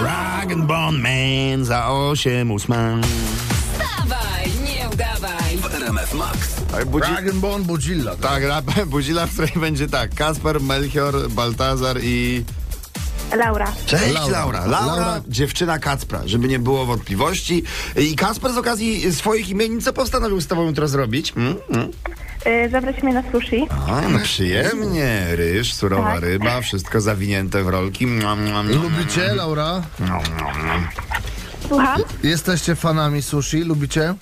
Dragon Bone Man za 8 ósma. Wstawaj, nie udawaj. RMF Max. Tak, budzi... Dragon Bone Bodzilla. Tak? tak rap, budzila, w której będzie tak. Kasper, Melchior, Baltazar i... Laura. Cześć, Laura. Laura. Laura. Laura. dziewczyna Kacpra, żeby nie było wątpliwości. I Kasper z okazji swoich imienin, co postanowił z tobą jutro zrobić? Mm, mm. Y, zabrać mnie na sushi. A, no przyjemnie. Ryż, surowa Tak. ryba, wszystko zawinięte w rolki. Mua, mua, mua. Lubicie, Laura? Mua, mua, mua. Słucham? Jesteście fanami sushi? Lubicie?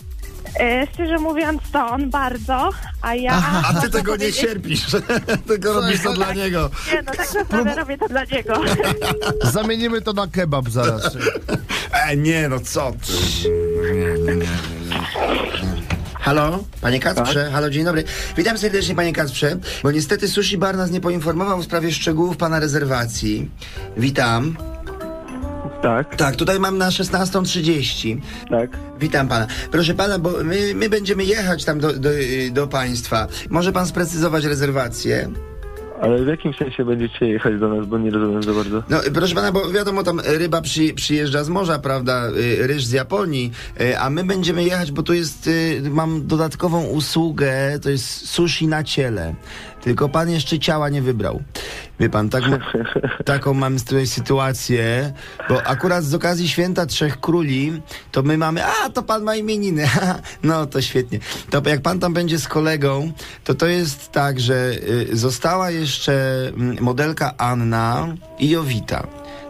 Y, szczerze mówiąc, to on bardzo, a ja... A ty tego nie cierpisz, tylko robisz to dla niego. Nie, no tak naprawdę robię to dla niego. No. Zamienimy to na kebab zaraz. E, nie, no co ty. Halo, panie Kacprze, halo, dzień dobry. Witam serdecznie, panie Kacprze, bo niestety Sushi Bar nas nie poinformował w sprawie szczegółów pana rezerwacji. Witam. Tak, Tak, tutaj mam na 16.30. tak. Witam pana. Proszę pana, bo my, my będziemy jechać tam do, do, y, do państwa. Może pan sprecyzować rezerwację? Ale w jakim sensie będziecie jechać do nas, bo nie rozumiem za bardzo. No, y, proszę pana, bo wiadomo, tam ryba przy, przyjeżdża z morza, prawda? y, Ryż z Japonii, y, a my będziemy jechać, bo tu jest, y, mam dodatkową usługę, to jest sushi na ciele. Tylko pan jeszcze ciała nie wybrał. Wie pan, tak, ma- taką mam z tej sytuację, bo akurat z okazji święta Trzech Króli, to my mamy, a to pan ma imieniny, no to świetnie. To jak pan tam będzie z kolegą, to to jest tak, że y, została jeszcze mm, modelka Anna i Jowita.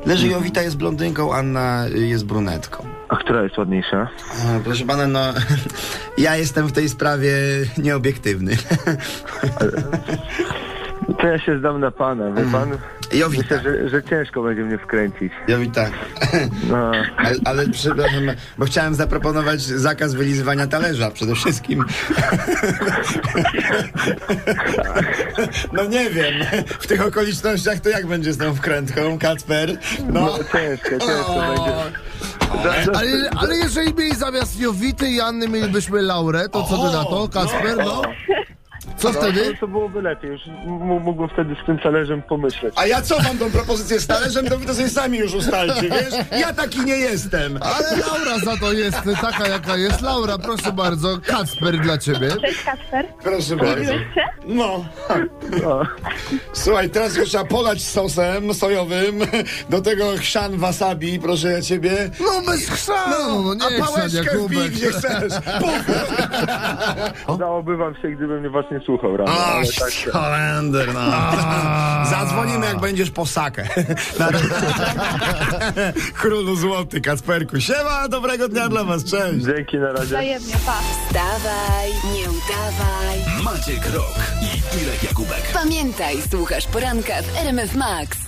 Leży Jowita jest blondynką, Anna y, jest brunetką. A która jest ładniejsza? E, Proszę pana, no ja jestem w tej sprawie nieobiektywny. To ja się zdam na pana, wie pan? Jowita, Myślę, że, że ciężko będzie mnie wkręcić. Jowita. No, Ale, ale przepraszam, bo chciałem zaproponować zakaz wylizywania talerza przede wszystkim. No nie wiem, w tych okolicznościach to jak będzie z tą wkrętką, Kacper? No. no ciężko, ciężko będzie. Ale, ale jeżeli mieli zamiast Jowity i Anny mielibyśmy Laurę, to co ty na to, Kasper? No. Co wtedy? To byłoby lepiej, już m- mógłbym wtedy z tym talerzem pomyśleć. A ja cofam tą propozycję z talerzem, to wy to sobie sami już ustalcie, wiesz? Ja taki nie jestem. Ale Laura za to jest taka, jaka jest. Laura, proszę bardzo, Kacper dla ciebie. Cześć, Kasper. Proszę bardzo. No. O, Słuchaj, teraz już trzeba polać sosem sojowym, do tego chrzan wasabi, proszę ja ciebie. No bez chrzanu, no, nie a pałeczkę wbij Jakubek. gdzie chcesz. Puf. dałoby wam się, gdybym was nie słuchał rano. O, ale tak to- Holender, no. Zadzwonimy, jak będziesz po sakę. Królu złoty, Kacperku. Siema, dobrego dnia dla was, cześć. Dzięki, na razie. Wzajemnie, pa. Wstawaj, nie udawaj. Maciek Rok i Irek Jakubek. Pamiętaj, słuchasz poranka w RMF Max.